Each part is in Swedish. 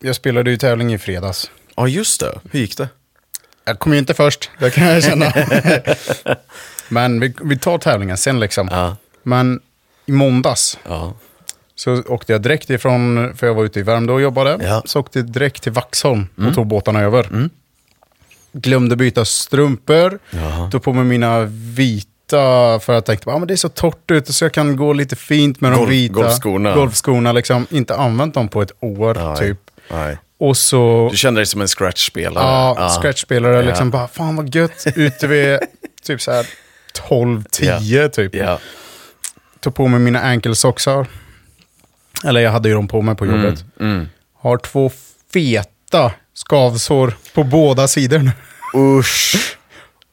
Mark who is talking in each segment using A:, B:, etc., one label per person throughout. A: jag spelade ju tävling i fredags.
B: Ja, just det. Hur gick det?
A: Jag kom ju inte först, det kan jag känna. Men vi, vi tar tävlingen sen liksom.
B: Ja.
A: Men i måndags
B: Ja.
A: så åkte jag direkt ifrån, för jag var ute i Värmdö och jobbade,
B: Ja. Mm.
A: så åkte jag direkt till Vaxholm och tog båtarna över. Glömde byta strumpor,
B: Jaha.
A: tog på mig mina vita, för jag tänkte att men det är så torrt ute så jag kan gå lite fint med
B: Golf-
A: de vita.
B: golfskorna.
A: Golfskorna liksom, inte använt dem på ett år
B: Nej.
A: typ.
B: Nej.
A: Och så
B: Du kände dig som en scratch-spelare?
A: Ja, scratchspelare.
B: Ja.
A: Liksom bara, fan vad gött. Ute vid typ så här 12-10 typ.
B: Ja.
A: Tog på mig mina ankelsoxar. Eller jag hade ju dem på mig på
B: Mm,
A: jobbet. Har två feta skavsår på båda sidor nu.
B: Usch.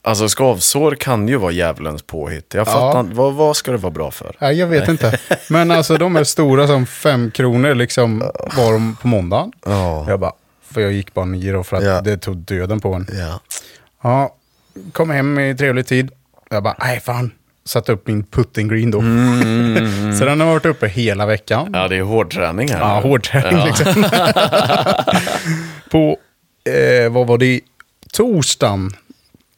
B: Alltså skavsår kan ju vara djävulens påhitt. Jag fattar inte. Vad, vad ska det vara bra för?
A: Nej, jag vet inte. Men alltså de är stora som fem kronor liksom var de på måndagen.
B: Ja.
A: Jag bara, för jag gick bara ner då för att
B: Ja.
A: det tog döden på en.
B: Ja.
A: Ja, kom hem i trevlig tid. Jag bara, nej fan. Satte upp min putting green då. så den har varit uppe hela veckan. Ja,
B: Mm. Ja, det är hård träning här. nu.
A: hård träning liksom. På, eh, vad var det, torsdagen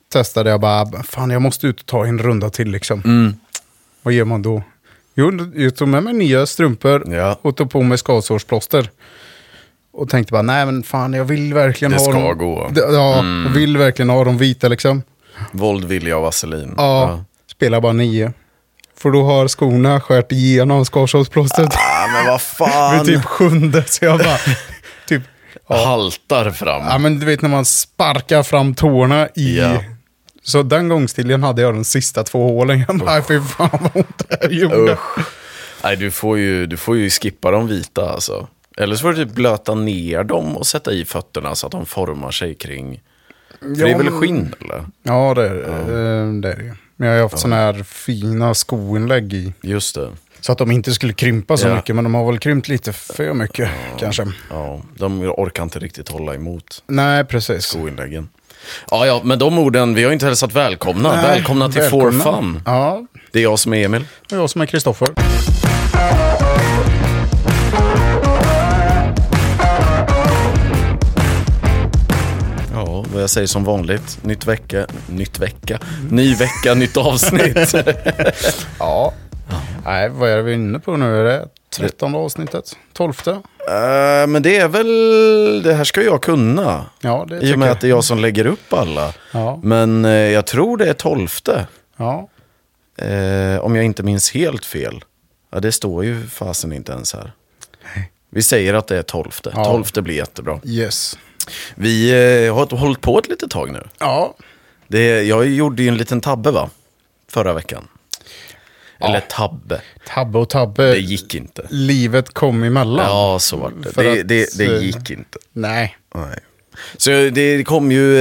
A: testade jag bara, fan jag måste ut och ta en runda till liksom.
B: Mm.
A: Vad gör man då? Jo, jag tog med mig nya strumpor
B: Ja.
A: och tog på mig skavsårsplåster. Och tänkte bara, nej men fan jag vill verkligen
B: Det
A: ha
B: ska
A: dem.
B: gå. Mm.
A: D- Ja, jag vill verkligen ha dem vita liksom.
B: Våld, vilja och vaselin.
A: Ja, spelar bara nio. För då har skorna skärt igenom skarsårsplåstret
B: Ah, men vad
A: vid
B: fan.
A: typ sjunde. Så jag bara, typ,
B: Haltar fram.
A: ja men du vet när man sparkar fram tårna i...
B: Ja.
A: Så den gångstiljen hade jag de sista två hålen. Jag bara, fy fan vad ont det här gjorde.
B: Usch. Nej, du får, ju, du får ju skippa de vita alltså. Eller så får du typ blöta ner dem och sätta i fötterna så att de formar sig kring... För det är
A: Ja,
B: väl
A: men-
B: skinn eller?
A: Ja, det är eh, det. Är det. ju. Men jag har haft sådana här fina skoinlägg i.
B: Just det.
A: Så att de inte skulle krympa så
B: Ja.
A: mycket, men de har väl krympt lite för mycket kanske.
B: Ja, de orkar inte riktigt hålla emot
A: Nej, precis.
B: skoinläggen. Ja, ja, men de orden, vi har ju inte hälsat välkomna.
A: Nej,
B: välkomna till
A: välkomna.
B: For Fun.
A: Ja,
B: Det är jag som är Emil.
A: och jag som är Kristoffer.
B: Ja, vad jag säger som vanligt. Nytt vecka, nytt vecka, ny vecka, nytt avsnitt.
A: Ja. Nej, vad är det vi är inne på nu? Är det trettonde avsnittet? Tolfte?
B: Eh, men det är väl, det här ska jag kunna.
A: Ja, det
B: I
A: tycker
B: och med att
A: jag.
B: det är jag som lägger upp alla.
A: Ja.
B: Men eh, jag tror det är tolfte.
A: Ja.
B: Eh, om jag inte minns helt fel. Ja, det står ju fasen inte ens här. Vi säger att det är tolfte.
A: Ja.
B: Tolfte blir jättebra.
A: Yes.
B: Vi eh, har hållit på ett litet tag nu.
A: Ja.
B: Det, jag gjorde ju en liten tabbe va? Förra veckan. Eller tabbe.
A: Tabbe och
B: Det
A: tabbe.
B: gick inte.
A: Livet kom emellan.
B: Ja, så var det.
A: För
B: Det,
A: att,
B: det, det
A: eh,
B: gick inte.
A: Nej.
B: Nej. Så det kom ju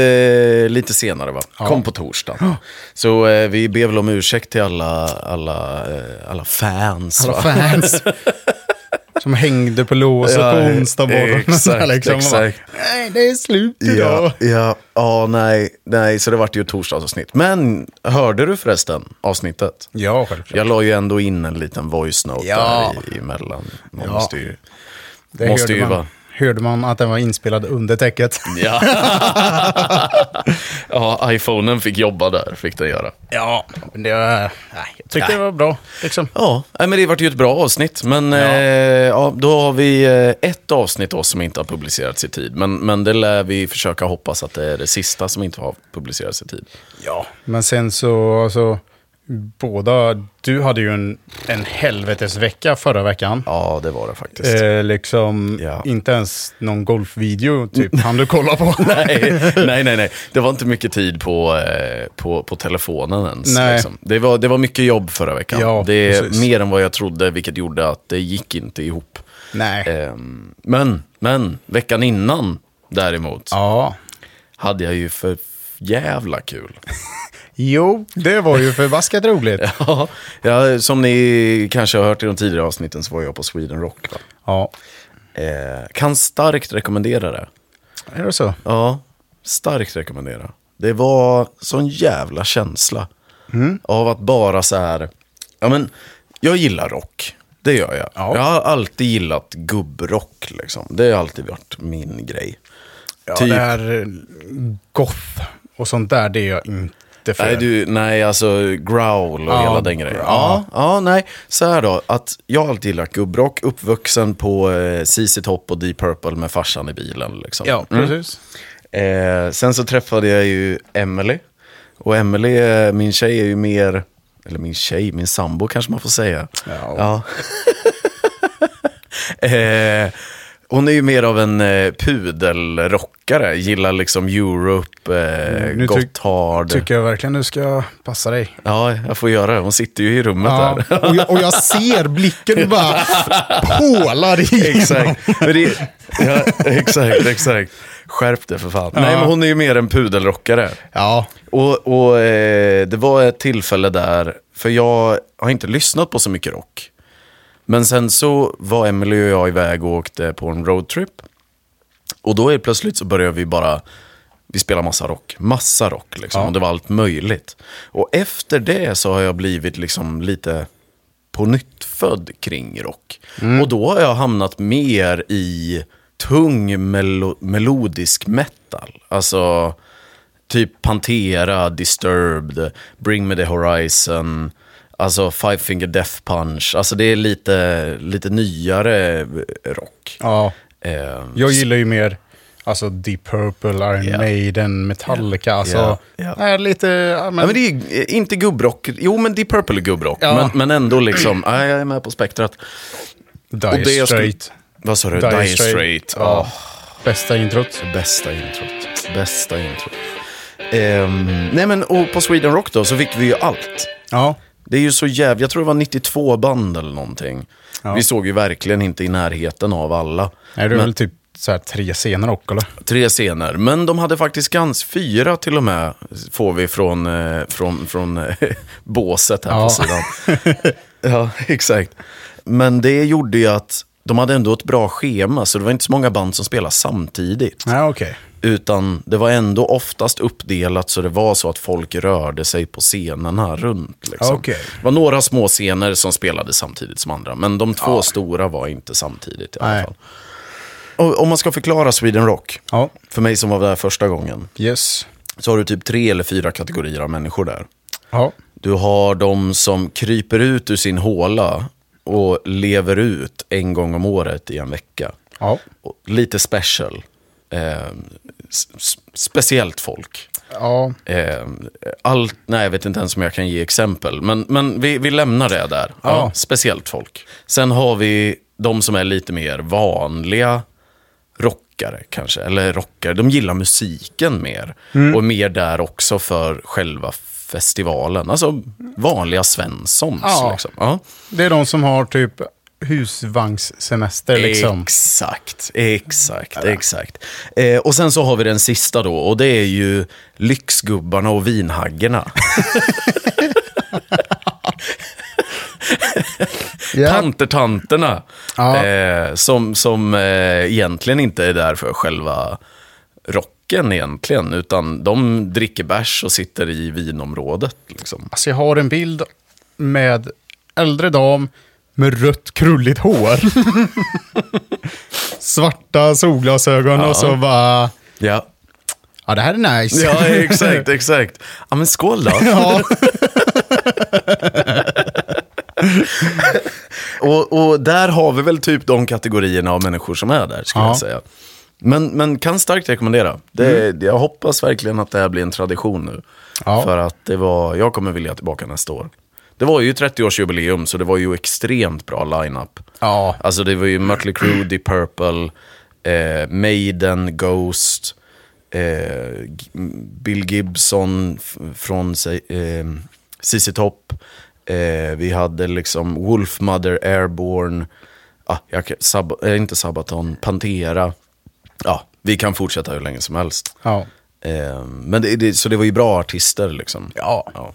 B: eh, lite senare va? Kom på torsdagen. Så eh, vi ber väl om ursäkt till alla, alla, eh, alla fans.
A: Alla
B: va?
A: fans. Som hängde på låset
B: Ja,
A: på onsdag morgon.
B: exakt,
A: liksom. Och bara,
B: exakt.
A: Nej, det är slut idag.
B: Ja, ja, ja, nej, nej, så det vart ju ett torsdagsavsnitt. Men hörde du förresten avsnittet?
A: Ja, självklart.
B: Jag la ju ändå in en liten voice note
A: Ja.
B: där i- emellan. Man
A: Ja.
B: måste ju...
A: Det
B: Måste ju
A: hörde man,
B: vara.
A: hörde man att den var inspelad under täcket.
B: Ja. ja, iPhonen fick jobba där, fick den göra.
A: Ja, men det var... Nej, jag tyckte
B: Nej.
A: det var bra. Liksom.
B: Ja, nej, men det vart ju ett bra avsnitt. Men ja. Eh, ja, då har vi eh, ett avsnitt då som inte har publicerats i tid. Men, men det lär vi försöka hoppas att det är det sista som inte har publicerats i tid.
A: Ja, men sen så, alltså, båda, du hade ju en, en helvetesvecka förra veckan.
B: Ja, det var det faktiskt.
A: Eh, liksom,
B: Ja. Mm.
A: inte ens någon golfvideo typ, hann du kolla på.
B: nej, nej, nej, nej. Det var inte mycket tid på, eh, på, på telefonen ens.
A: Nej.
B: Liksom. Det, var, det var mycket jobb förra veckan.
A: Ja,
B: det är
A: precis.
B: mer än vad jag trodde, vilket gjorde att det gick inte ihop.
A: Nej.
B: Ehm, men, men, veckan innan däremot
A: Ja.
B: hade jag ju för jävla kul.
A: Jo, det var ju förbaskat roligt.
B: Ja, ja, som ni kanske har hört i de tidigare avsnitten så var jag på Sweden Rock. Va?
A: Ja.
B: Eh, kan starkt rekommendera det.
A: Är det så?
B: Ja, starkt rekommendera. Det var sån jävla Mm. känsla av att bara så här, ja men jag gillar rock. Det gör jag.
A: Ja.
B: Jag har alltid gillat gubbrock. Liksom. Det har alltid varit min grej.
A: Ja,
B: Typ.
A: det här eh, goth och sånt där, det är jag inte för.
B: Nej, du, nej, alltså growl och
A: Ja,
B: hela den grejen.
A: growl.
B: Ja, ja, nej. Så här då, att jag har alltid gillat gubbrock, uppvuxen på eh, ZZ Top och Deep Purple med farsan i bilen. Liksom.
A: Ja,
B: Mm.
A: precis.
B: Eh, sen så träffade jag ju Emily. Och Emily, eh, min tjej är ju mer, eller min tjej, min sambo kanske man får säga.
A: Ja.
B: Ja. eh, hon är ju mer av en eh, pudelrockare, gillar liksom Europe, eh,
A: Mm, Nu tyck-
B: Gotthard.
A: Tycker jag verkligen du ska passa dig.
B: Ja, jag får göra det. Hon sitter ju i rummet
A: Ja,
B: där.
A: och, jag, och jag ser blicken bara pålar i.
B: exakt. Men det, ja, exakt, exakt. Skärp dig för fan. Nej, men hon är ju mer en pudelrockare.
A: Ja,
B: Och, och eh, det var ett tillfälle där, för jag har inte lyssnat på så mycket rock. Men sen så var Emily och jag iväg och åkte på en roadtrip. Och då helt plötsligt så började vi bara, vi spelar massa rock. Massa rock liksom. Och det var allt möjligt. Och efter det så har jag blivit liksom lite på nytt född kring rock. Och då har jag hamnat mer i tung melo- melodisk metal. Alltså typ Pantera, Disturbed, Bring Me The Horizon. Alltså Five Finger Death Punch. Alltså det är lite, lite nyare rock.
A: ja.
B: Eh,
A: Jag gillar ju mer alltså Deep Purple, Iron
B: Ja.
A: Maiden, Metallica. Alltså,
B: Ja, ja.
A: Nej, lite... Ja, men,
B: Ja, men det är ju, eh, inte gubbrock. Jo, men Deep Purple är gubbrock.
A: Ja.
B: Men, men ändå liksom, ja, jag är med på spektrat.
A: Dire
B: det jag skulle-
A: Straight,
B: Vad sa du?
A: Dire
B: Dire,
A: Straits.
B: Straits.
A: Ja.
B: Ah.
A: bästa introt.
B: Bästa introt. Bästa introt. Ehm, nej men, och på Sweden Rock då så fick vi ju allt.
A: Ja,
B: Det är ju så jävla, jag tror det var 92 band eller någonting. Vi såg ju verkligen inte i närheten av alla.
A: nej, det är väl typ så här tre scener och, eller?
B: Tre scener, men de hade faktiskt ganska, fyra till och med, får vi från, eh, från, från eh, båset här på
A: Ja.
B: sidan. ja, exakt. Men det gjorde ju att de hade ändå ett bra schema, så det var inte så många band som spelade samtidigt.
A: Nej, okej.
B: Utan det var ändå oftast uppdelat så det var så att folk rörde sig på scenerna runt. Liksom.
A: Okej.
B: Det var några små scener som spelade samtidigt som andra, men de två stora var inte samtidigt i alla
A: Nej.
B: fall. Och, om man ska förklara Sweden Rock,
A: Ja,
B: för mig som var där första gången,
A: yes.
B: så har du typ tre eller fyra kategorier av människor där.
A: Ja,
B: Du har de som kryper ut ur sin håla och lever ut en gång om året i en vecka.
A: ja.
B: Och lite special. Eh, s- s- speciellt folk.
A: ja.
B: Eh, allt, nej, jag vet inte ens om jag kan ge exempel. Men, men vi, vi lämnar det där. Ja,
A: Ja.
B: speciellt folk. Sen har vi de som är lite mer vanliga rockare kanske. Eller rockare, de gillar musiken mer.
A: Mm.
B: Och är mer där också för själva festivalen. Alltså vanliga Svenssons.
A: Ja.
B: Liksom. Ja.
A: Det är de som har typ husvagnssemester liksom.
B: Exakt, exakt, exakt. Eh, och sen så har vi den sista då, och det är ju lyxgubbarna och vinhaggarna.
A: Ja.
B: Tantertanterna.
A: Ja.
B: Eh, som som eh, egentligen inte är där för själva rocken egentligen, utan de dricker bärs och sitter i vinområdet. Liksom.
A: Alltså jag har en bild med äldre dam med rött krulligt hår. Svarta solglasögon och så bara...
B: Ja.
A: Ja, det här är nice.
B: ja, exakt, exakt. Ja, men skål då.
A: ja.
B: Och, och där har vi väl typ de kategorierna av människor som är där, skulle
A: Ja.
B: jag säga. Men, men kan starkt rekommendera. Det, Jag hoppas verkligen att det här blir en tradition nu.
A: Mm. Ja.
B: För att det var, jag kommer vilja tillbaka nästa år. Det var ju 30-årsjubileum, så det var ju extremt bra line-up.
A: Ja.
B: Alltså det var ju Mötley Crüe, Deep Purple, eh, Maiden, Ghost, eh, G- Bill Gibson f- från sig- eh, ZZ Top. Eh, vi hade liksom Wolfmother, Airborne, ah, jag, kan- sab- eh, inte Sabaton, Pantera. Ja, vi kan fortsätta hur länge som helst.
A: Ja.
B: Eh, men det, det, så det var ju bra artister liksom.
A: Ja.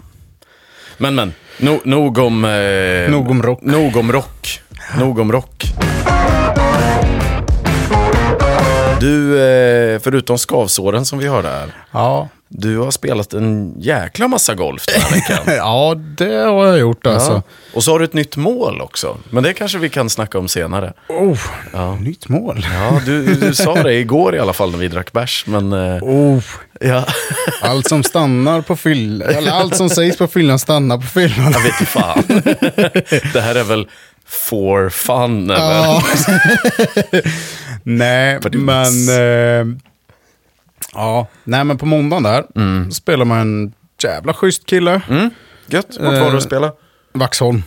B: Men men, no, nog om... Eh,
A: Nog om rock.
B: Nog om rock. Nog om rock. Du, eh, förutom skavsåren som vi har där,
A: Ja.
B: du har spelat en jäkla massa golf den här veckan.
A: ja, det har jag gjort alltså.
B: Ja. Och så har du ett nytt mål också. Men det kanske vi kan snacka om senare.
A: Oh, Nytt mål.
B: Ja, du, du sa det igår i alla fall när vi drack bärs, men... eh,
A: Oh,
B: Ja,
A: allt som stannar på fyllan, eller allt som sägs på fyllan stannar på fyllan.
B: jag vet inte fan. Det här är väl for fun, eller?
A: Ja. nej, men... Eh, ja, nej men på måndagen där
B: Mm.
A: spelar man en jävla schysst kille.
B: Gött, vart var du och spelade?
A: Vaxholm.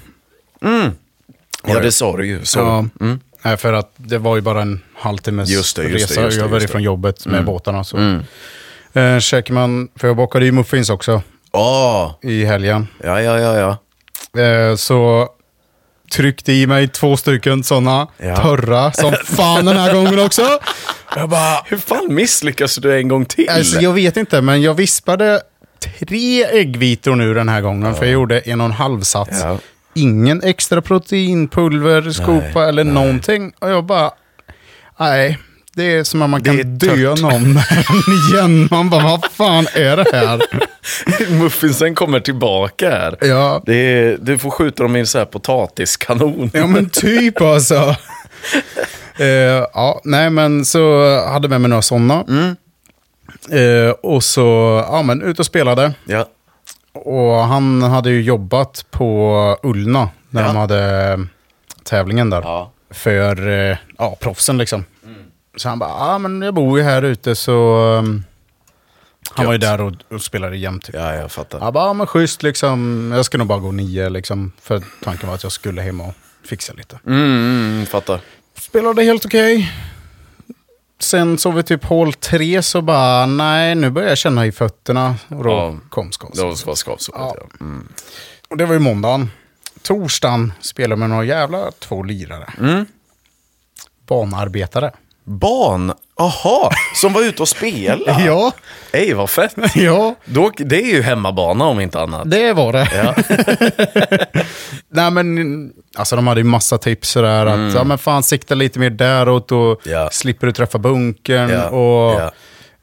B: Ja, det sa du ju. Så. Mm.
A: Ja. Nej, för att det var ju bara en halvtimmes
B: Just det, just det,
A: resa
B: just det,
A: över
B: just det. Mm.
A: ifrån jobbet med båtarna. Så. Eh, käkar man, för jag bakade ju muffins också
B: Ah,
A: i helgen.
B: ja, ja, ja, ja.
A: Eh, så tryckte i mig två stycken sådana
B: Ja.
A: torra som fan den här gången också. Jag bara,
B: Hur fan misslyckas du en gång till?
A: Alltså, jag vet inte, men jag vispade tre äggvitor nu den här gången, för jag gjorde en och en halv sats.
B: Ja.
A: Ingen extra proteinpulver, skopa eller någonting. Och jag bara, nej, det är som att man
B: är
A: kan dö någon igen. Man bara, vad fan är det här?
B: Muffinsen kommer tillbaka här.
A: Ja,
B: Det är, du får skjuta dem i en sån här potatiskanon.
A: ja men typ alltså. Eh, ja, nej men så hade med mig några sådana. Eh, och så, ja men ut och spelade.
B: Ja.
A: Och han hade ju jobbat på Ullna när
B: Ja.
A: de hade eh, tävlingen där.
B: Ja. Mm.
A: För eh, ja, proffsen liksom. Så han bara, ja ah, men jag bor ju här ute så... um, Han var ju
B: Gött.
A: där och, och spelade jämt. Typ.
B: ja, jag fattar.
A: Han bara, ah, men schysst liksom. Jag ska nog bara gå nio liksom. För tanken var att jag skulle hem och fixa lite.
B: Mm, mm, fattar.
A: Spelade helt okej. Sen så vi typ hål tre så bara, nej nu börjar jag känna i fötterna. Och då
B: Ja.
A: kom skånsen.
B: Det var skavsåret, ja. ja. Mm.
A: Och det var ju måndagen. Torsdagen spelade med några jävla två lirare.
B: Mm.
A: Banarbetare.
B: Barn, aha, som var ute och spelade.
A: Ja,
B: Ej, vad fett.
A: ja,
B: Då, det är ju hemmabana om inte annat.
A: det var det. Nej men, alltså de hade ju massa tips sådär att, ja men fan sikta lite mer däråt och
B: Mm. Ja.
A: slipper du träffa bunkern
B: Ja,
A: och,
B: ja.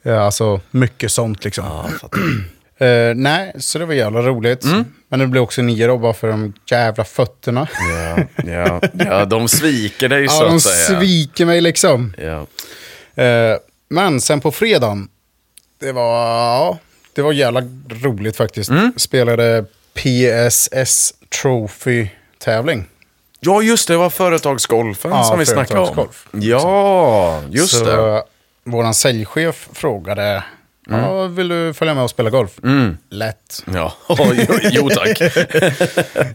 A: ja, alltså mycket sånt liksom.
B: Ja, fattar. Mm.
A: Eh, nej, så det var jävla roligt. Men det blev också nio då bara för de jävla fötterna.
B: Ja, ja, ja, de sviker dig
A: Ja,
B: så
A: de
B: att säga.
A: sviker mig liksom.
B: ja.
A: Eh, men sen på fredagen, det var, ja, det var jävla roligt faktiskt.
B: Mm.
A: Spelade PSS Trophy-tävling.
B: ja, just det, det var företagsgolfen
A: Ja,
B: som vi snackade om.
A: företagsgolf.
B: Ja, just
A: Så
B: det. Mm.
A: våran säljchef frågade, ja, vill du följa med och spela golf? Lätt.
B: Ja, jo, jo tack.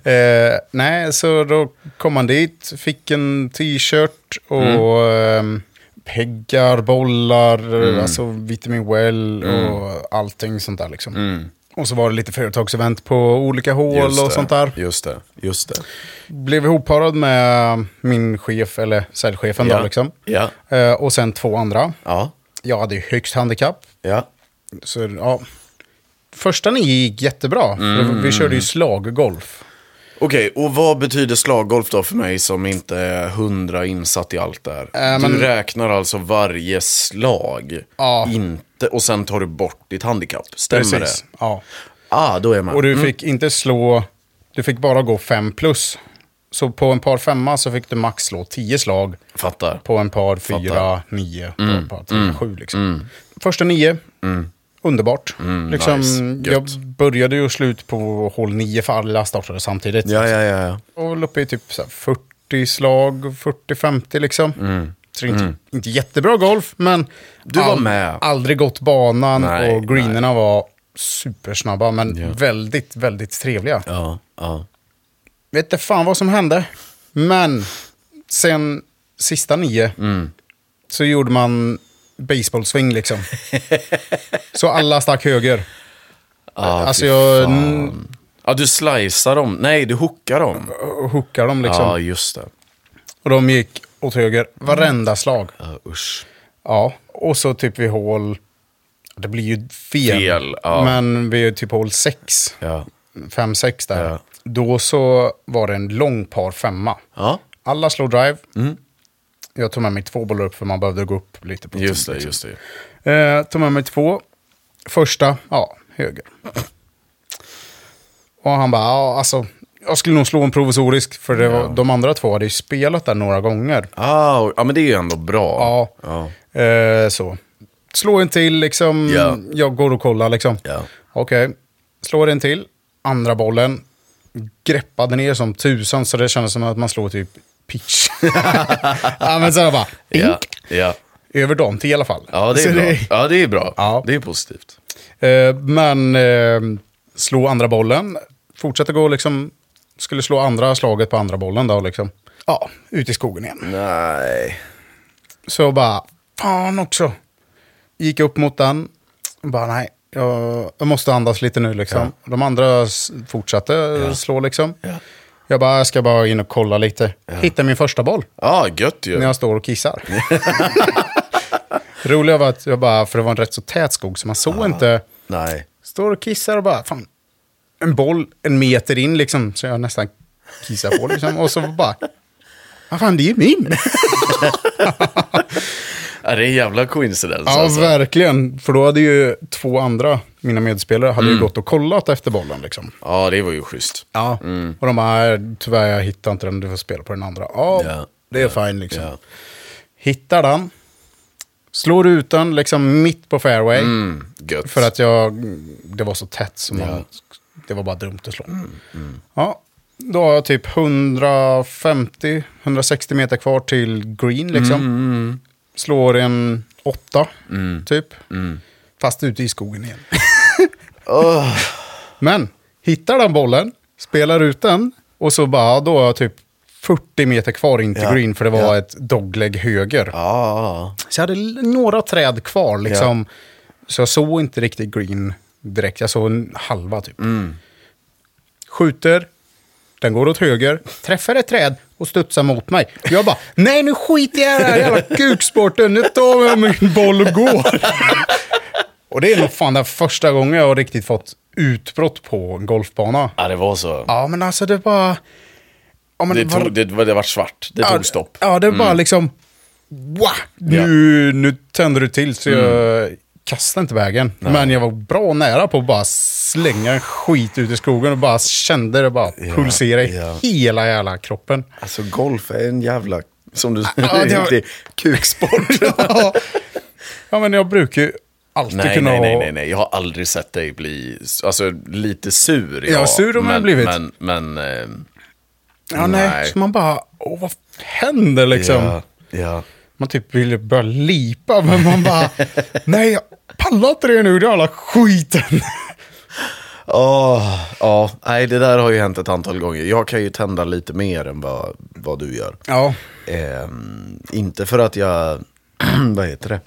A: Eh, nej, så då kom han dit, fick en t-shirt och
B: Mm.
A: ehm, peggar, bollar, alltså vitamin well
B: Mm.
A: och allting sånt där liksom. Och så var det lite företagsevent på olika hål
B: Just
A: och
B: det,
A: sånt där.
B: Just det, just det.
A: Blev ihopparad med min chef, eller säljchefen då liksom.
B: ja,
A: Eh, och sen två andra.
B: ja,
A: Jag hade ju högst handikapp.
B: ja.
A: Så, ja. Första nio gick jättebra.
B: Mm.
A: för Vi körde ju slaggolf.
B: Okej, och vad betyder slaggolf då för mig som inte är hundra insatt i allt det här?
A: Äh,
B: Du
A: men-
B: räknar alltså varje slag,
A: Ja.
B: inte, och sen tar du bort ditt handikapp, stämmer det?
A: Ja.
B: Ah, då är man.
A: Och du fick inte slå, du fick bara gå fem plus. Så på en par femma så fick du max slå tio slag.
B: Fattar.
A: På en par fyra, nio, på
B: Mm.
A: en par tre, sju liksom. Första nio, underbart. liksom,
B: Mm, nice.
A: jag
B: Gött.
A: började ju slut på hål nio för alla startade samtidigt.
B: Ja, ja, ja. ja.
A: Och väl uppe i typ så här 40 slag, 40-50 liksom. Så det är inte, inte jättebra golf, men
B: Mm. Du var med.
A: aldrig gått banan
B: Nej,
A: och greenerna var supersnabba, men väldigt, väldigt trevliga.
B: Ja, ja.
A: Vet inte fan vad som hände, men sen sista nio
B: Mm.
A: så gjorde man baseballsving liksom. så alla stack höger.
B: Ah,
A: alltså
B: fy
A: jag
B: fan.
A: n-
B: Ja, du slicear dem. Nej, du hookar dem.
A: och hookade dem liksom.
B: Ja, just det.
A: Och de gick åt höger varenda slag.
B: Ja, usch.
A: Ja, och så typ vid hål... Det blir ju fel.
B: Fel, ja.
A: Men vid typ hål 6,
B: Ja.
A: 5-6 där.
B: Ja.
A: Då så var det en lång par femma.
B: Ja. Mm.
A: Alla slår drive. Jag tog med mig två bollar upp för man behövde gå upp lite. på
B: Just
A: tid,
B: det,
A: liksom.
B: just det.
A: Eh, tog med mig två. Första, ja, höger. Och han bara, ja, alltså, jag skulle nog slå en provisorisk, för det var, de andra två hade ju spelat där några gånger.
B: Ah, och- ja, men det är ju ändå bra.
A: Ja.
B: Ja.
A: Eh, så. Slå en till, liksom.
B: Ja.
A: Jag går och kollar, liksom.
B: Ja.
A: Okej. Slår en till. Andra bollen. Greppade ner som tusan, så det kändes som att man slår typ pitch. ja, men så jag bara, bink.
B: Ja. Ja.
A: Över dem till i alla fall.
B: ja, det
A: Så
B: är bra. Ja, det är bra.
A: Ja.
B: Det är positivt.
A: Eh, men eh, slå andra bollen. Fortsätter gå liksom. Skulle slå andra slaget på andra bollen då liksom. Ja, ut i skogen igen.
B: Nej.
A: Så bara, fan också. Gick upp mot den. Bara nej, jag, jag måste andas lite nu liksom. De andra s- fortsatte slå liksom.
B: Ja.
A: Jag bara, jag ska bara in och kolla lite. Hitta min första boll
B: Ja, gött ju.
A: när jag står och kissar. Roliga var att jag bara, för det var en rätt så tät skog så man såg inte.
B: Nej.
A: Står och kissar och bara, fan, en boll en meter in liksom, så jag nästan kissar på liksom. Och så bara, vad fan, det är ju min!
B: Ja, det är en jävla coincidence
A: Ja,
B: alltså.
A: verkligen. För då hade ju två andra, mina medspelare, hade ju gått och kollat efter bollen liksom.
B: Ja, det var ju schysst.
A: Ja.
B: Mm.
A: Och de bara, "Nej, tyvärr, jag hittar inte den, du får spela på den andra. Ja,
B: Ja,
A: det är fine liksom.
B: Ja.
A: Hittar den, slår ut den liksom mitt på fairway.
B: Mm, gött.
A: För att jag, det var så tätt så man, det var bara dumt att slå.
B: Mm,
A: Ja, då har jag typ 150-160 meter kvar till green liksom.
B: Mm,
A: Slår en åtta typ.
B: Mm.
A: Fast ute i skogen igen.
B: Åh.
A: Men hittar den bollen, spelar ut den och så bara, då har jag typ 40 meter kvar in till
B: Ja.
A: green för det var
B: Ja.
A: ett dogleg höger.
B: Ja,
A: Så jag hade l- några träd kvar liksom. Så jag såg inte riktigt green direkt. Jag såg en halva typ. Skjuter, den går åt höger, träffar ett träd och studsar mot mig. Jag bara, nej nu skiter jag i den här jävla kuksporten, nu tar jag min boll och går. och det är nog fan den första gången jag har riktigt fått utbrott på en golfbana.
B: ja det var så.
A: Ja men alltså det bara... Ja, men
B: det,
A: var-
B: tog, det, var- det var svart. Det
A: Ja,
B: tog stopp. Mm.
A: Ja, det var bara liksom... Wow, nu, nu tänder du till så
B: Mm.
A: jag kastade inte vägen. Men jag var bra nära på att bara slänga en skit ut i skogen och bara kände det bara pulsera i
B: ja.
A: hela jävla kroppen.
B: Alltså golf är en jävla, som du
A: Ja, det
B: säger,
A: var-
B: riktig kuksport.
A: ja. ja, men jag brukar ju alltid
B: Nej,
A: kunna
B: nej, nej,
A: ha-
B: nej, nej. Jag har aldrig sett dig bli, alltså lite sur.
A: Ja, sur har man
B: men,
A: blivit.
B: Men, men, eh,
A: Ja, nej.
B: Nej.
A: Så man bara, åh, vad händer liksom?
B: ja, ja.
A: Man typ ville börja lipa, men man bara, nej, jag pallar inte det nu, den jävla skiten.
B: Åh, ja, nej det där har ju hänt ett antal gånger. Jag kan ju tända lite mer än vad, vad du gör.
A: ja,
B: Ehm, inte för att jag, vad heter det?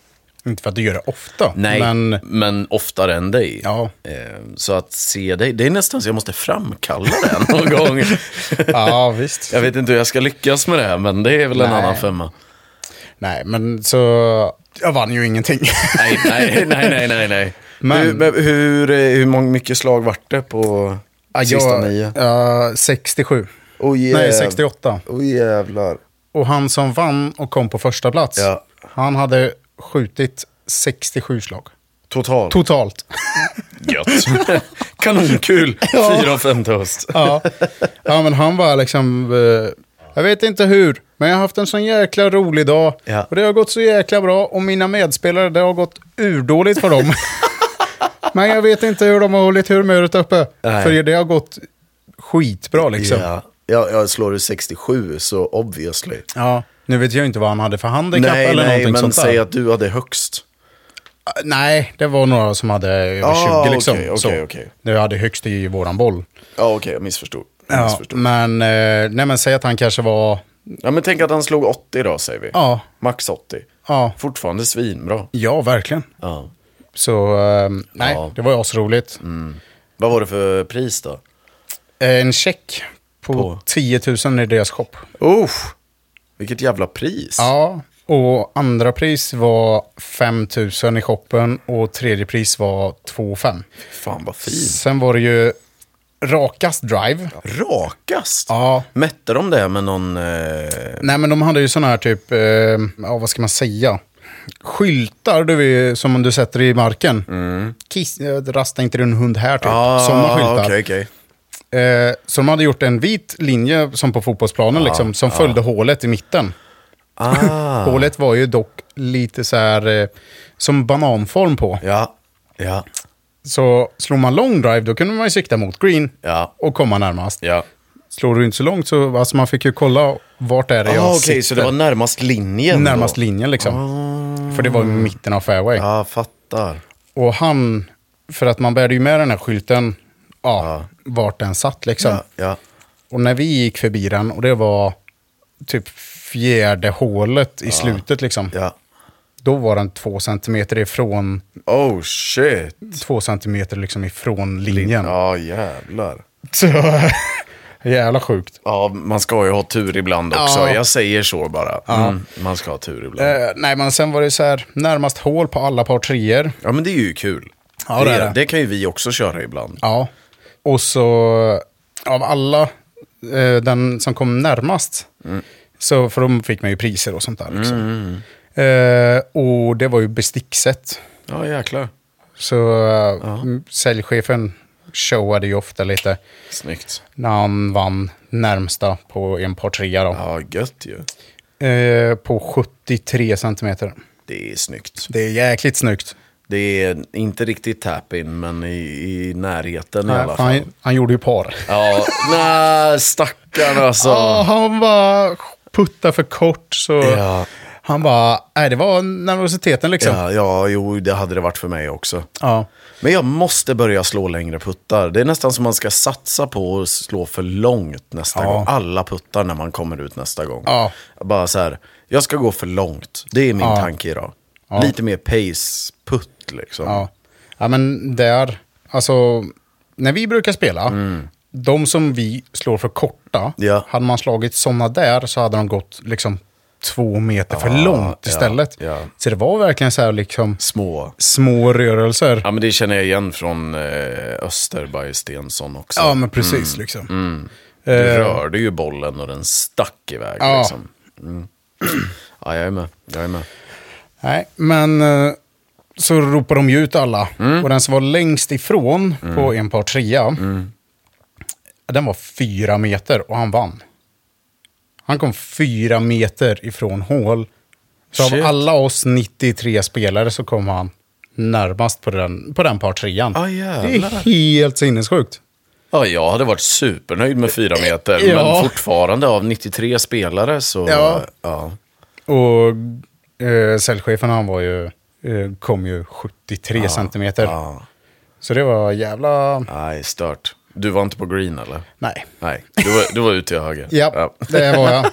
A: inte för att du gör det ofta,
B: Nej, men,
A: men
B: oftare än dig.
A: Ja.
B: Ehm, så att se dig, det är nästan så jag måste framkalla det någon gång.
A: Ja, visst.
B: Jag vet inte hur jag ska lyckas med det här, men det är väl en
A: Nej.
B: annan femma.
A: Nej, men så... Jag vann ju ingenting.
B: Nej, nej, nej, nej, nej. nej.
A: Men-
B: Hur, men hur, eh, hur mång- mycket slag vart det på
A: Ja,
B: sista
A: jag,
B: nio?
A: ja, 67.
B: Oh,
A: Nej,
B: jäv-
A: 68.
B: Åh jävlar.
A: Och han som vann och kom på första plats,
B: Ja.
A: han hade skjutit 67 slag.
B: Totalt.
A: Totalt.
B: Gött. Kanonkul.
A: Ja.
B: Fyra av fem till höst.
A: Ja. ja, men han var liksom... eh, Jag vet inte hur, men jag har haft en sån jäkla rolig dag.
B: Ja.
A: Och det har gått så jäkla bra. Och mina medspelare, det har gått urdåligt för dem. men jag vet inte hur de har hållit humöret uppe.
B: Nej.
A: För det har gått skitbra liksom.
B: Ja. Jag, jag slår du 67 så obviously.
A: Ja, nu vet jag inte vad han hade för handikapp
B: Nej,
A: eller
B: nej,
A: någonting
B: men
A: sånt där.
B: säg att du hade högst.
A: Nej, det var några som hade över
B: Ah,
A: 20 liksom.
B: okej, okej,
A: Så.
B: okej.
A: Nu hade högst i våran boll.
B: Ja, okej, jag missförstod. Jag
A: Ja,
B: missförstod.
A: men, eh, nej, men säg att han kanske var,
B: Ja, men tänk att han slog 80 då, säger vi.
A: ja,
B: Max 80.
A: ja,
B: Fortfarande svinbra.
A: ja verkligen.
B: Ja.
A: Så eh, nej,
B: Ja. Mm.
A: det var ju asroligt.
B: Vad var det för pris då?
A: Eh, En check på, 10 000 i deras shop.
B: Usch, vilket jävla pris.
A: Ja, och andra pris var 5 000 i shoppen och tredje pris var 2 500.
B: Fan vad fint.
A: Sen var det ju Rakast Drive.
B: Rakast?
A: Ja.
B: Mätte de det med någon... Eh...
A: Nej, men de hade ju sådana här typ, eh, ja vad ska man säga? Skyltar du vet, som du sätter i marken. Kiss, eh, rasta inte din hund här typ. Sådana skyltar.
B: Mm. Ah, Okej, okej.
A: Eh, så de hade gjort en vit linje som på fotbollsplanen liksom, som följde hålet i mitten.
B: Ah,
A: Hålet var ju dock lite så här eh, som bananform på.
B: ja, ja,
A: Så slog man long drive då kunde man ju sikta mot green
B: Ja.
A: och komma närmast.
B: ja.
A: Slår du inte så långt så alltså man fick ju kolla vart är det jag
B: ah, okej,
A: sitter.
B: så det var närmast linjen
A: närmast
B: då? Ah.
A: linjen liksom. För det var i mitten av fairway.
B: Ja, fattar.
A: Och han, för att man bärde ju med den här skylten, ja, vart den satt liksom.
B: Ja, ja.
A: Och när vi gick förbi den, och det var typ fjärde hålet i slutet liksom,
B: ja.
A: då var den två centimeter ifrån,
B: Oh shit.
A: två centimeter liksom ifrån linjen.
B: Ja, jävlar.
A: Så, jävla sjukt.
B: Ja, man ska ju ha tur ibland också.
A: Ja.
B: Jag säger så bara. Mm, man ska ha tur ibland.
A: Eh, nej, men sen var det så här, närmast hål på alla par treor.
B: Ja, men det är ju kul.
A: Ja, det är det.
B: det kan ju vi också köra ibland.
A: Ja. Och så av alla, eh, den som kom närmast,
B: Mm.
A: så, för de fick man ju priser och sånt där. Liksom. Eh, och det var ju bestickset.
B: Ja, jäklar.
A: Så eh, m- säljchefen showade ju ofta lite
B: Snyggt.
A: när han vann närmsta på en par trea då.
B: Ja, gött ju.
A: Eh, på 73 centimeter.
B: Det är snyggt.
A: Det är jäkligt snyggt.
B: Det är inte riktigt tap-in, men i, i närheten i alla fall.
A: Han, han gjorde ju par.
B: Ja, nej, stackarn alltså.
A: Ja, han bara putta för kort så
B: Ja.
A: han bara, nej det var nervositeten liksom. Ja.
B: Ja, ja, jo, det hade det varit för mig också. Men jag måste börja slå längre puttar. Det är nästan som man ska satsa på att slå för långt nästa
A: Ja.
B: gång. Alla puttar när man kommer ut nästa gång.
A: Ja.
B: Bara så här, jag ska gå för långt. Det är min
A: Ja.
B: tanke idag. Lite mer pace-putt liksom.
A: Ja. ja, men där, alltså när vi brukar spela, de som vi slår för korta,
B: Mm. Ja.
A: hade man slagit sådana där så hade de gått liksom två meter för långt
B: ja,
A: istället.
B: ja.
A: Så det var verkligen så här liksom
B: Små.
A: små rörelser. Ja,
B: Ja, men det känner jag igen från eh, Österberg Stensson också.
A: men precis
B: Mm.
A: liksom.
B: Du rörde ju bollen och den stack iväg
A: Eh. Ja.
B: liksom. Mm. Ja, jag är med. Jag är med.
A: Nej, men eh, så ropar de ju ut alla.
B: Mm.
A: Och den som var längst ifrån på en par trea,
B: Mm.
A: den var fyra meter och han vann. Han kom fyra meter ifrån hål. Så
B: Shit.
A: av alla oss 93 spelare så kom han närmast på den, på den par trean.
B: Ah,
A: det
B: jävlar.
A: är helt sinnessjukt.
B: Ja, jag hade varit supernöjd med fyra meter,
A: Ja.
B: men fortfarande av 93 spelare så...
A: Ja.
B: ja.
A: Och eh, säljchefen han var ju, eh, kom ju 73
B: Ah,
A: centimeter.
B: ja.
A: Så det var jävla...
B: Nej, stört. Du var inte på green eller?
A: Nej.
B: Nej, du var, du var ute till höger.
A: Ja, det var jag.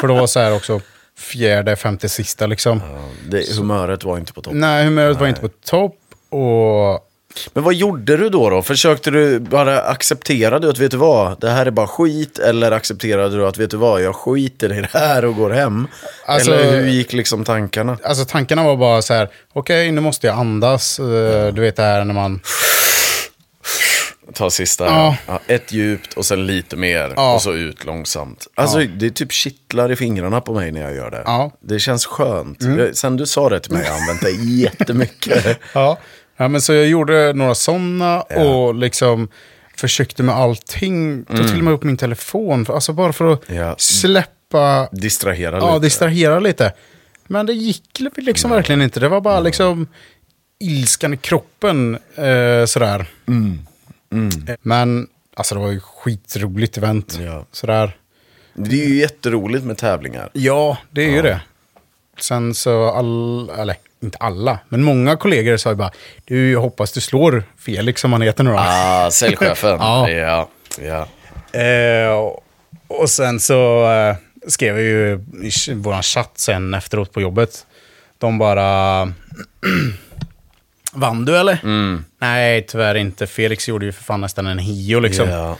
A: För då var så här också fjärde, femte, sista liksom.
B: Det, humöret var inte på topp.
A: Nej, humöret var inte på topp och...
B: Men vad gjorde du då? då? Försökte du bara acceptera du att vet du vad, det här är bara skit? Eller accepterade du att vet du vad, jag skiter i det här och går hem?
A: Alltså-
B: eller hur gick liksom tankarna?
A: Alltså tankarna var bara så här, okej nu måste jag andas. Eh, Du vet det här när man...
B: Ta sista.
A: Ja.
B: Ja, ett djupt och sen lite mer
A: Ja.
B: och så ut långsamt. Alltså det är typ kittlar i fingrarna på mig när jag gör det.
A: Ja. Mm.
B: Det känns skönt. Jag, sen du sa det till mig har jag använt det jättemycket.
A: Ja. ja men så jag gjorde några sådana och liksom försökte med allting. Tog till och med upp min telefon, för, alltså bara för att
B: Ja.
A: släppa,
B: Distrahera
A: ja,
B: lite.
A: distrahera lite. Men det gick liksom verkligen inte. Det var bara liksom ilskan i kroppen eh, sådär.
B: Mm.
A: Eh, Men alltså det var ju skitroligt event.
B: Ja.
A: Sådär.
B: Det är ju jätteroligt med tävlingar.
A: Ja, det är ju det. Sen så all, eller inte alla, men många kollegor sa ju bara, du jag hoppas du slår Felix som han heter nu då.
B: Ah, säljchefen.
A: Ja.
B: ja. ja.
A: Eh, och- och sen så eh, skrev jag ju i ch- våran chatt sen efteråt på jobbet. De bara... Vann du eller?
B: Mm.
A: Nej, tyvärr inte. Felix gjorde ju för fan nästan en hio liksom.
B: ja.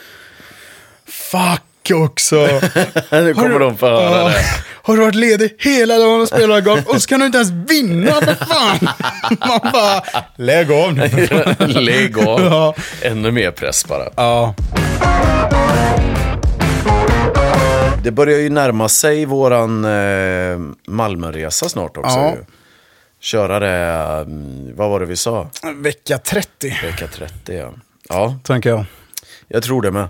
A: Fuck också!
B: Nu kommer de få höra
A: Ja.
B: det.
A: Har du varit ledig hela dagen och spelat golf och så kan du inte ens vinna för fan! Man bara, lägg av nu.
B: Lägg av.
A: Ja.
B: Ännu mer press bara.
A: Ja.
B: Det börjar ju närma sig våran eh, Malmöresa snart också.
A: Ja.
B: Ju. Köra det, mm, vad var det vi sa?
A: Vecka 30,
B: Vecka 30 ja. Ja,
A: tänker jag.
B: jag tror det med.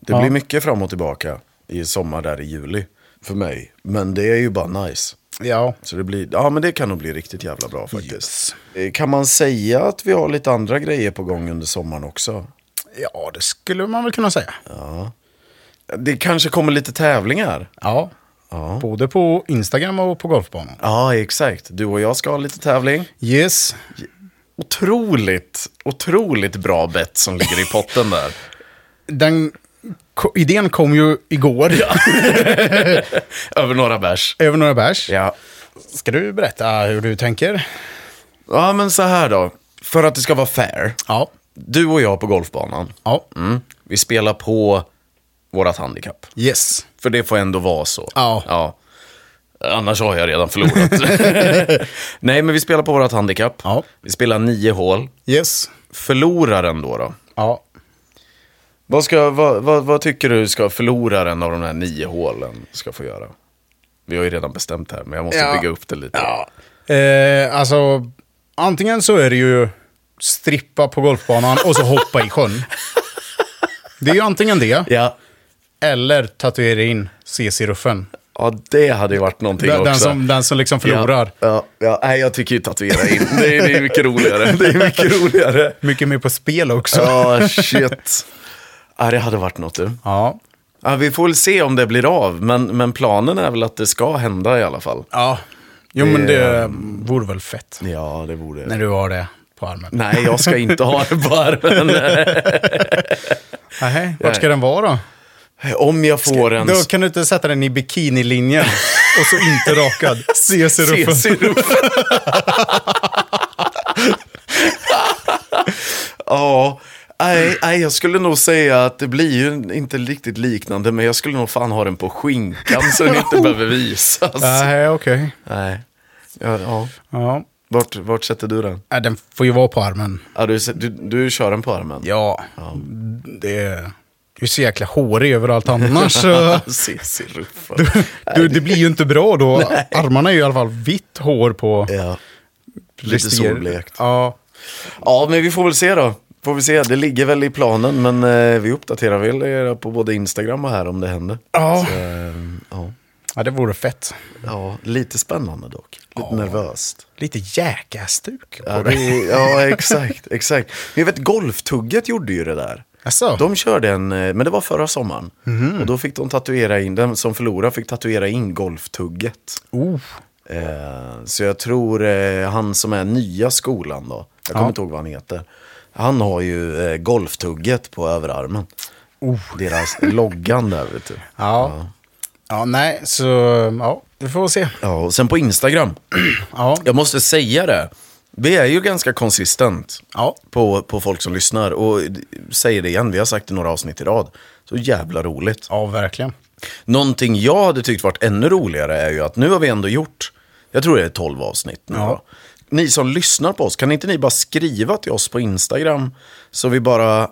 B: Det
A: Ja.
B: blir mycket fram och tillbaka i sommar där i juli. För mig. Men det är ju bara nice.
A: Ja.
B: Så det blir, ja men det kan nog bli riktigt jävla bra faktiskt. Eh, Kan man säga att vi har lite andra grejer på gång under sommaren också?
A: ja, det skulle man väl kunna säga.
B: Det kanske kommer lite tävlingar.
A: Ja.
B: Ja.
A: Både på Instagram och på golfbanan.
B: Ja, exakt. Du och jag ska ha lite tävling.
A: Yes.
B: Otroligt, otroligt bra bett som ligger i potten där.
A: Den ko- idén kom ju igår,
B: Över några bärs.
A: över några bärs.
B: Ja.
A: Ska du berätta hur du tänker?
B: ja, men så här då. För att det ska vara fair.
A: Ja.
B: Du och jag på golfbanan.
A: Ja.
B: Mm. Vi spelar på vårat handikapp.
A: Yes.
B: För det får ändå vara så.
A: Ja.
B: Annars har jag redan förlorat. Nej, men vi spelar på vårat handikapp.
A: Ja.
B: Vi spelar nio hål.
A: Yes.
B: Förloraren då då?
A: Ja.
B: Vad, ska, vad, vad, vad tycker du ska förloraren av de här nio hålen ska få göra? Vi har ju redan bestämt här, men jag måste
A: Ja.
B: bygga upp det lite.
A: Eh, alltså, antingen så är det ju strippa på golfbanan och så hoppa i sjön. Det är ju antingen det,
B: Ja,
A: eller tatuera in CC-ruffen.
B: ja det hade ju varit någonting
A: Den,
B: också.
A: den, som, den som liksom förlorar.
B: Ja, ja, ja, nej, jag tycker ju tatuera in. Det är, det är mycket roligare. Det är mycket roligare.
A: Mycket mer på spel också.
B: Ja, shit. Ja, det hade varit något du.
A: Ja.
B: Ja, vi får väl se om det blir av, men, men planen är väl att det ska hända i alla fall.
A: ja. Jo, men det ehm, vore väl fett.
B: Ja, det borde
A: När du har det på armen.
B: Nej, jag ska inte ha det eh, på armen.
A: Nej. Vart ska den vara då?
B: Om jag får en...
A: Då kan du inte sätta den i bikinilinjen och så inte rakad. CC-ruffen.
B: Cesiruffen. Ja, nej, nej, jag skulle nog säga att det blir ju inte riktigt liknande, men jag skulle nog fan ha den på skinkan så den inte behöver visas.
A: Nej, okej.
B: Nej. Ja, ja.
A: Ja.
B: Vart, vart sätter du den?
A: Nej, den får ju vara på armen.
B: Ja, du, du, du kör den på armen?
A: Ja, det är ju så jäkla hårig överallt annars. så-
B: Cesiruffen.
A: du, det blir ju inte bra då. Armarna är ju i alla fall vitt hår på.
B: Ja. Lite
A: rester.
B: solblekt.
A: Ja,
B: Ja, men vi får väl se då. Får vi se, det ligger väl i planen, men eh, vi uppdaterar väl er på både Instagram och här om det händer.
A: ja.
B: Så, eh, ja.
A: ja det vore fett.
B: ja, lite spännande dock. Lite nervöst.
A: Lite jäkastuk på
B: Ja,
A: det.
B: det, ja, exakt, exakt. Men jag vet, Golftugget gjorde ju det där.
A: Jaså?
B: De körde en, eh, men det var förra sommaren. Och då fick de tatuera in, den som förlorade fick tatuera in Golftugget.
A: Oh.
B: Eh, så jag tror eh, han som är nya skolan då, jag kommer inte ihåg vad han heter. Han har ju eh, golftugget på överarmen. Deras loggan där vet du.
A: Ja. ja, nej, så ja, vi får se.
B: Ja, och sen på Instagram.
A: Ja,
B: Jag måste säga det. Vi är ju ganska konsistent
A: ja.
B: på, på folk som lyssnar. Och d- säger det igen, vi har sagt det några avsnitt i rad. Så jävla roligt.
A: ja verkligen.
B: Någonting jag hade tyckt varit ännu roligare är ju att nu har vi ändå gjort, jag tror det är 12 avsnitt nu
A: Ja.
B: då. Ni som lyssnar på oss, kan inte ni bara skriva till oss på Instagram så vi bara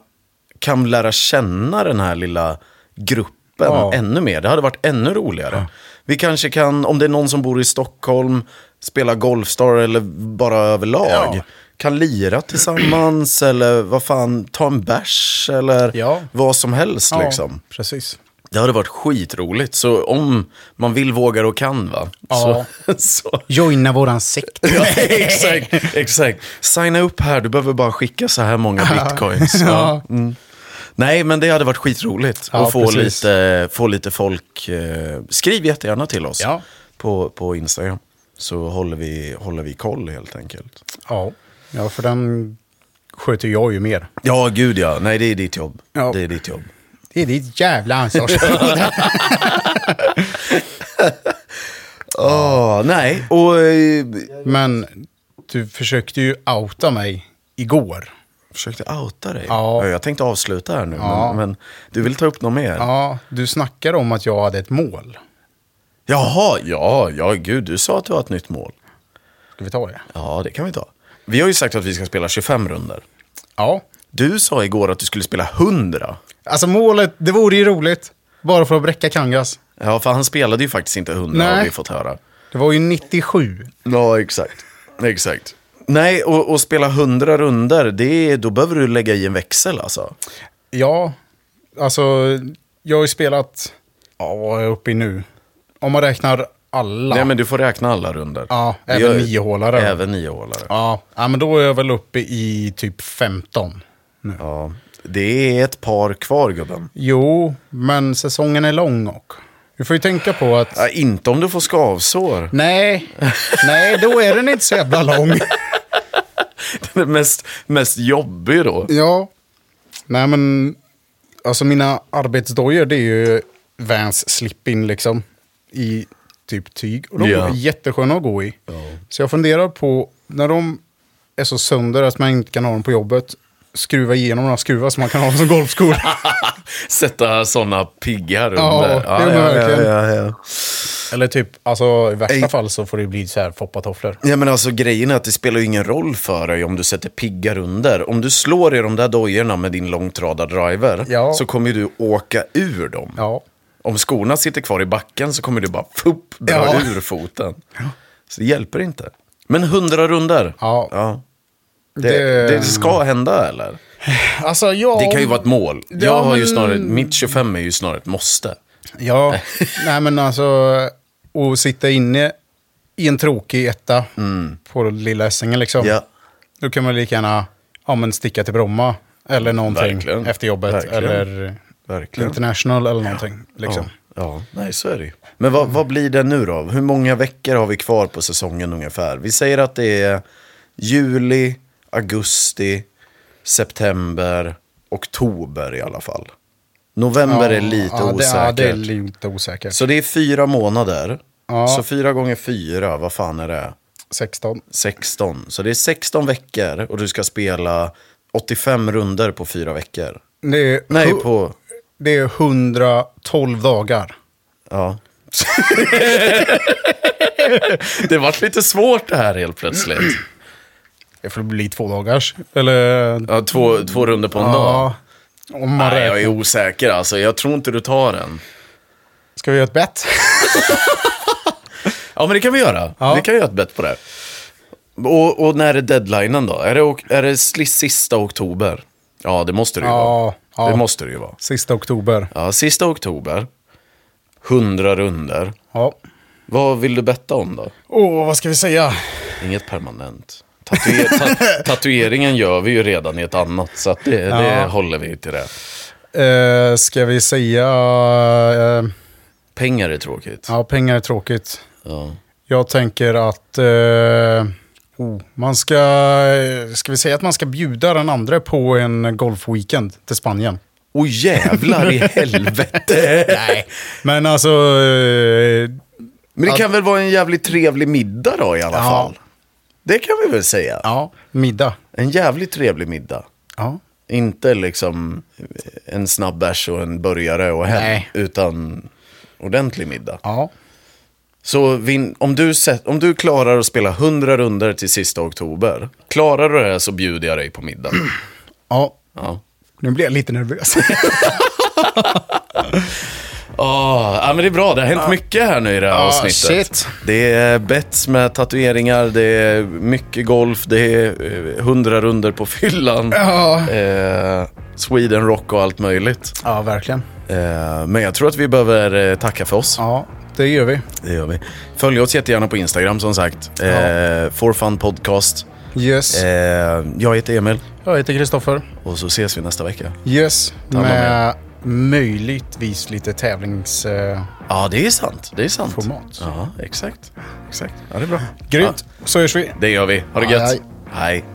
B: kan lära känna den här lilla gruppen
A: Ja.
B: ännu mer? Det hade varit ännu roligare. Vi kanske kan, om det är någon som bor i Stockholm, spela Golfstar eller bara överlag.
A: Ja.
B: Kan lira tillsammans eller vad fan, ta en bärs eller
A: Ja.
B: vad som helst
A: Ja,
B: liksom.
A: precis.
B: Det hade varit skitroligt, så om man vill, vågar och kan va?
A: Ja.
B: Så, så.
A: Joina våran sekt.
B: Ja, exakt, exakt. Signa upp här, du behöver bara skicka så här många bitcoins. Ja. Mm. Nej, men det hade varit skitroligt
A: Ja,
B: att få
A: precis.
B: lite, få lite folk. Eh, skriv jättegärna till oss
A: Ja.
B: på, på Instagram. Så håller vi, håller vi koll helt enkelt.
A: Ja. ja, för den sköter jag ju mer.
B: Ja, gud ja. Nej, det är ditt jobb.
A: Ja.
B: Det är ditt jobb.
A: Det är ditt jävla ansvar.
B: Ah, nej, och eh,
A: Men du försökte ju outa mig igår.
B: Försökte outa dig?
A: Ja.
B: Jag tänkte avsluta här nu,
A: Ja.
B: men, men du vill ta upp något mer?
A: Ja, du snackade om att jag hade ett mål.
B: Jaha, ja, ja, gud, du sa att du har ett nytt mål.
A: Ska vi ta det?
B: Ja, det kan vi ta. Vi har ju sagt att vi ska spela 25 runder.
A: Ja.
B: Du sa igår att du skulle spela 100.
A: Alltså målet, det vore ju roligt. Bara för att bräcka Kangas.
B: Ja, för han spelade ju faktiskt inte 100 har
A: Nej.
B: vi fått höra.
A: Det var ju 97.
B: Ja, exakt. Exakt. Nej, och, och spela 100 runder, det är, då behöver du lägga i en växel alltså.
A: Ja, alltså jag har ju spelat, ja vad är jag uppe i nu? Om man räknar alla.
B: Nej, men du får räkna alla runder.
A: Ja,
B: Det
A: även
B: gör-
A: niohålare.
B: Även niohålare. Ja.
A: Ja, ja, men då är jag väl uppe i typ 15 nu.
B: Det är ett par kvar, gubben.
A: Jo, men säsongen är lång och. Du får ju tänka på att...
B: Ja, inte om du får skavsår.
A: Nej, nej, då är den inte så jävla lång.
B: Den är mest, mest jobbig då.
A: Ja. Nej men, alltså mina arbetsdojor det är ju Vans slip-in liksom. I typ tyg. Och de
B: Ja.
A: är jättesköna att gå i. Så jag funderar på, när de är så sönder att man inte kan ha dem på jobbet, skruva igenom några skruvar som man kan ha som golfskor.
B: Sätta sådana pigga
A: Ja,
B: runder.
A: det gör man verkligen.
B: ja, ja.
A: Eller typ, alltså i värsta
B: Ej.
A: fall så får det bli så här foppatofflor.
B: Ja men alltså grejen är att det spelar ju ingen roll för dig om du sätter piggar under. Om du slår i de där dojorna med din långtradardriver
A: Ja.
B: så kommer ju du åka ur dem.
A: Ja.
B: Om skorna sitter kvar i backen så kommer du bara fupp, dra
A: Ja.
B: ur foten. Så det hjälper inte. Men hundra runder.
A: Ja.
B: Det, det...
A: Det-
B: ska hända eller?
A: Alltså jag...
B: Det kan ju vara ett mål.
A: Ja,
B: Jag har ju
A: men-
B: snarare, mitt 25 är ju snarare ett måste.
A: Ja, nej men alltså att sitta inne i en tråkig etta på lilla Essingen liksom.
B: Mm. Ja.
A: Då kan man lika gärna ja, men sticka till Bromma eller någonting
B: Verkligen.
A: efter jobbet.
B: Verkligen.
A: Eller
B: Verkligen.
A: international eller någonting. Liksom.
B: Ja, nej så är det ju. Men vad, vad blir det nu då? Hur många veckor har vi kvar på säsongen ungefär? Vi säger att det är juli, augusti, september, oktober i alla fall. November är lite
A: ja, det,
B: osäkert.
A: ja, det är lite osäkert.
B: Så det är fyra månader.
A: Ja.
B: Så fyra gånger fyra, vad fan är det?
A: 16.
B: 16. Så det är 16 veckor och du ska spela 85 runder på fyra veckor.
A: Det är,
B: Nej,
A: hu-
B: på...
A: det är 112 dagar.
B: Ja. det vart lite svårt det här helt plötsligt.
A: Det får bli två dagars. Eller...
B: Ja, två, två runder på en dag.
A: Ja. Om man
B: Nej,
A: räknar.
B: jag är osäker alltså. Jag tror inte du tar den.
A: Ska vi göra ett bett?
B: Ja, men det kan vi göra.
A: Ja.
B: Vi kan göra ett bett på det. Och, och när är deadlinen då? Är det, ok- är det sli- sista oktober? Ja, det måste det ju
A: Ja,
B: vara.
A: ja.
B: Det måste det ju vara.
A: Sista oktober.
B: Ja, sista oktober. 100 runder.
A: Ja.
B: Vad vill du betta om då?
A: Åh, vad ska vi säga?
B: Inget permanent. Tatuer ta tatueringen gör vi ju redan i ett annat, så att det, det
A: Ja.
B: håller vi till det.
A: Eh, ska vi säga... Eh,
B: Pengar är tråkigt.
A: ja, pengar är tråkigt.
B: Ja.
A: Jag tänker att... Eh, oh, man ska... eh, Ska vi säga att man ska bjuda den andra på en golfweekend till Spanien?
B: Åh jävlar i helvete! Nej.
A: Men alltså... Eh,
B: Men det kan väl vara en jävligt trevlig middag då i alla
A: Ja.
B: fall? Det kan vi väl säga.
A: ja, middag.
B: En jävligt trevlig middag.
A: Ja.
B: Inte liksom en snabb bärs och en burgare och hem,
A: Nej.
B: utan ordentlig middag.
A: Ja.
B: Så vin, om, du sett, om du klarar att spela 100 runder till sista oktober, klarar du det här så bjuder jag dig på middag.
A: Mm. Ja.
B: Ja.
A: Nu blir jag lite nervös.
B: Åh, Ah, ja, men det är bra, det har hänt mycket här nu i det här
A: Ah,
B: avsnittet.
A: shit.
B: Det är bets med tatueringar, det är mycket golf, det är eh, 100 runder på fyllan.
A: Ja.
B: Eh, Sweden Rock och allt möjligt.
A: ja, verkligen.
B: Eh, men jag tror att vi behöver eh, tacka för oss.
A: Ja, det gör vi.
B: Det gör vi. Följ oss jättegärna på Instagram som sagt. Eh, For Fun Podcast.
A: Yes.
B: Eh, jag heter Emil.
A: Jag heter Kristoffer.
B: Och så ses vi nästa vecka.
A: Yes,
B: om
A: med möjligtvis lite tävlings... Eh,
B: Ja, det är sant. Det är sant.
A: Format.
B: Ja, exakt. exakt. Ja, det är bra.
A: grymt, så hörs vi.
B: Det gör vi. Ha det
A: Ja,
B: gött.
A: hej.
B: hej.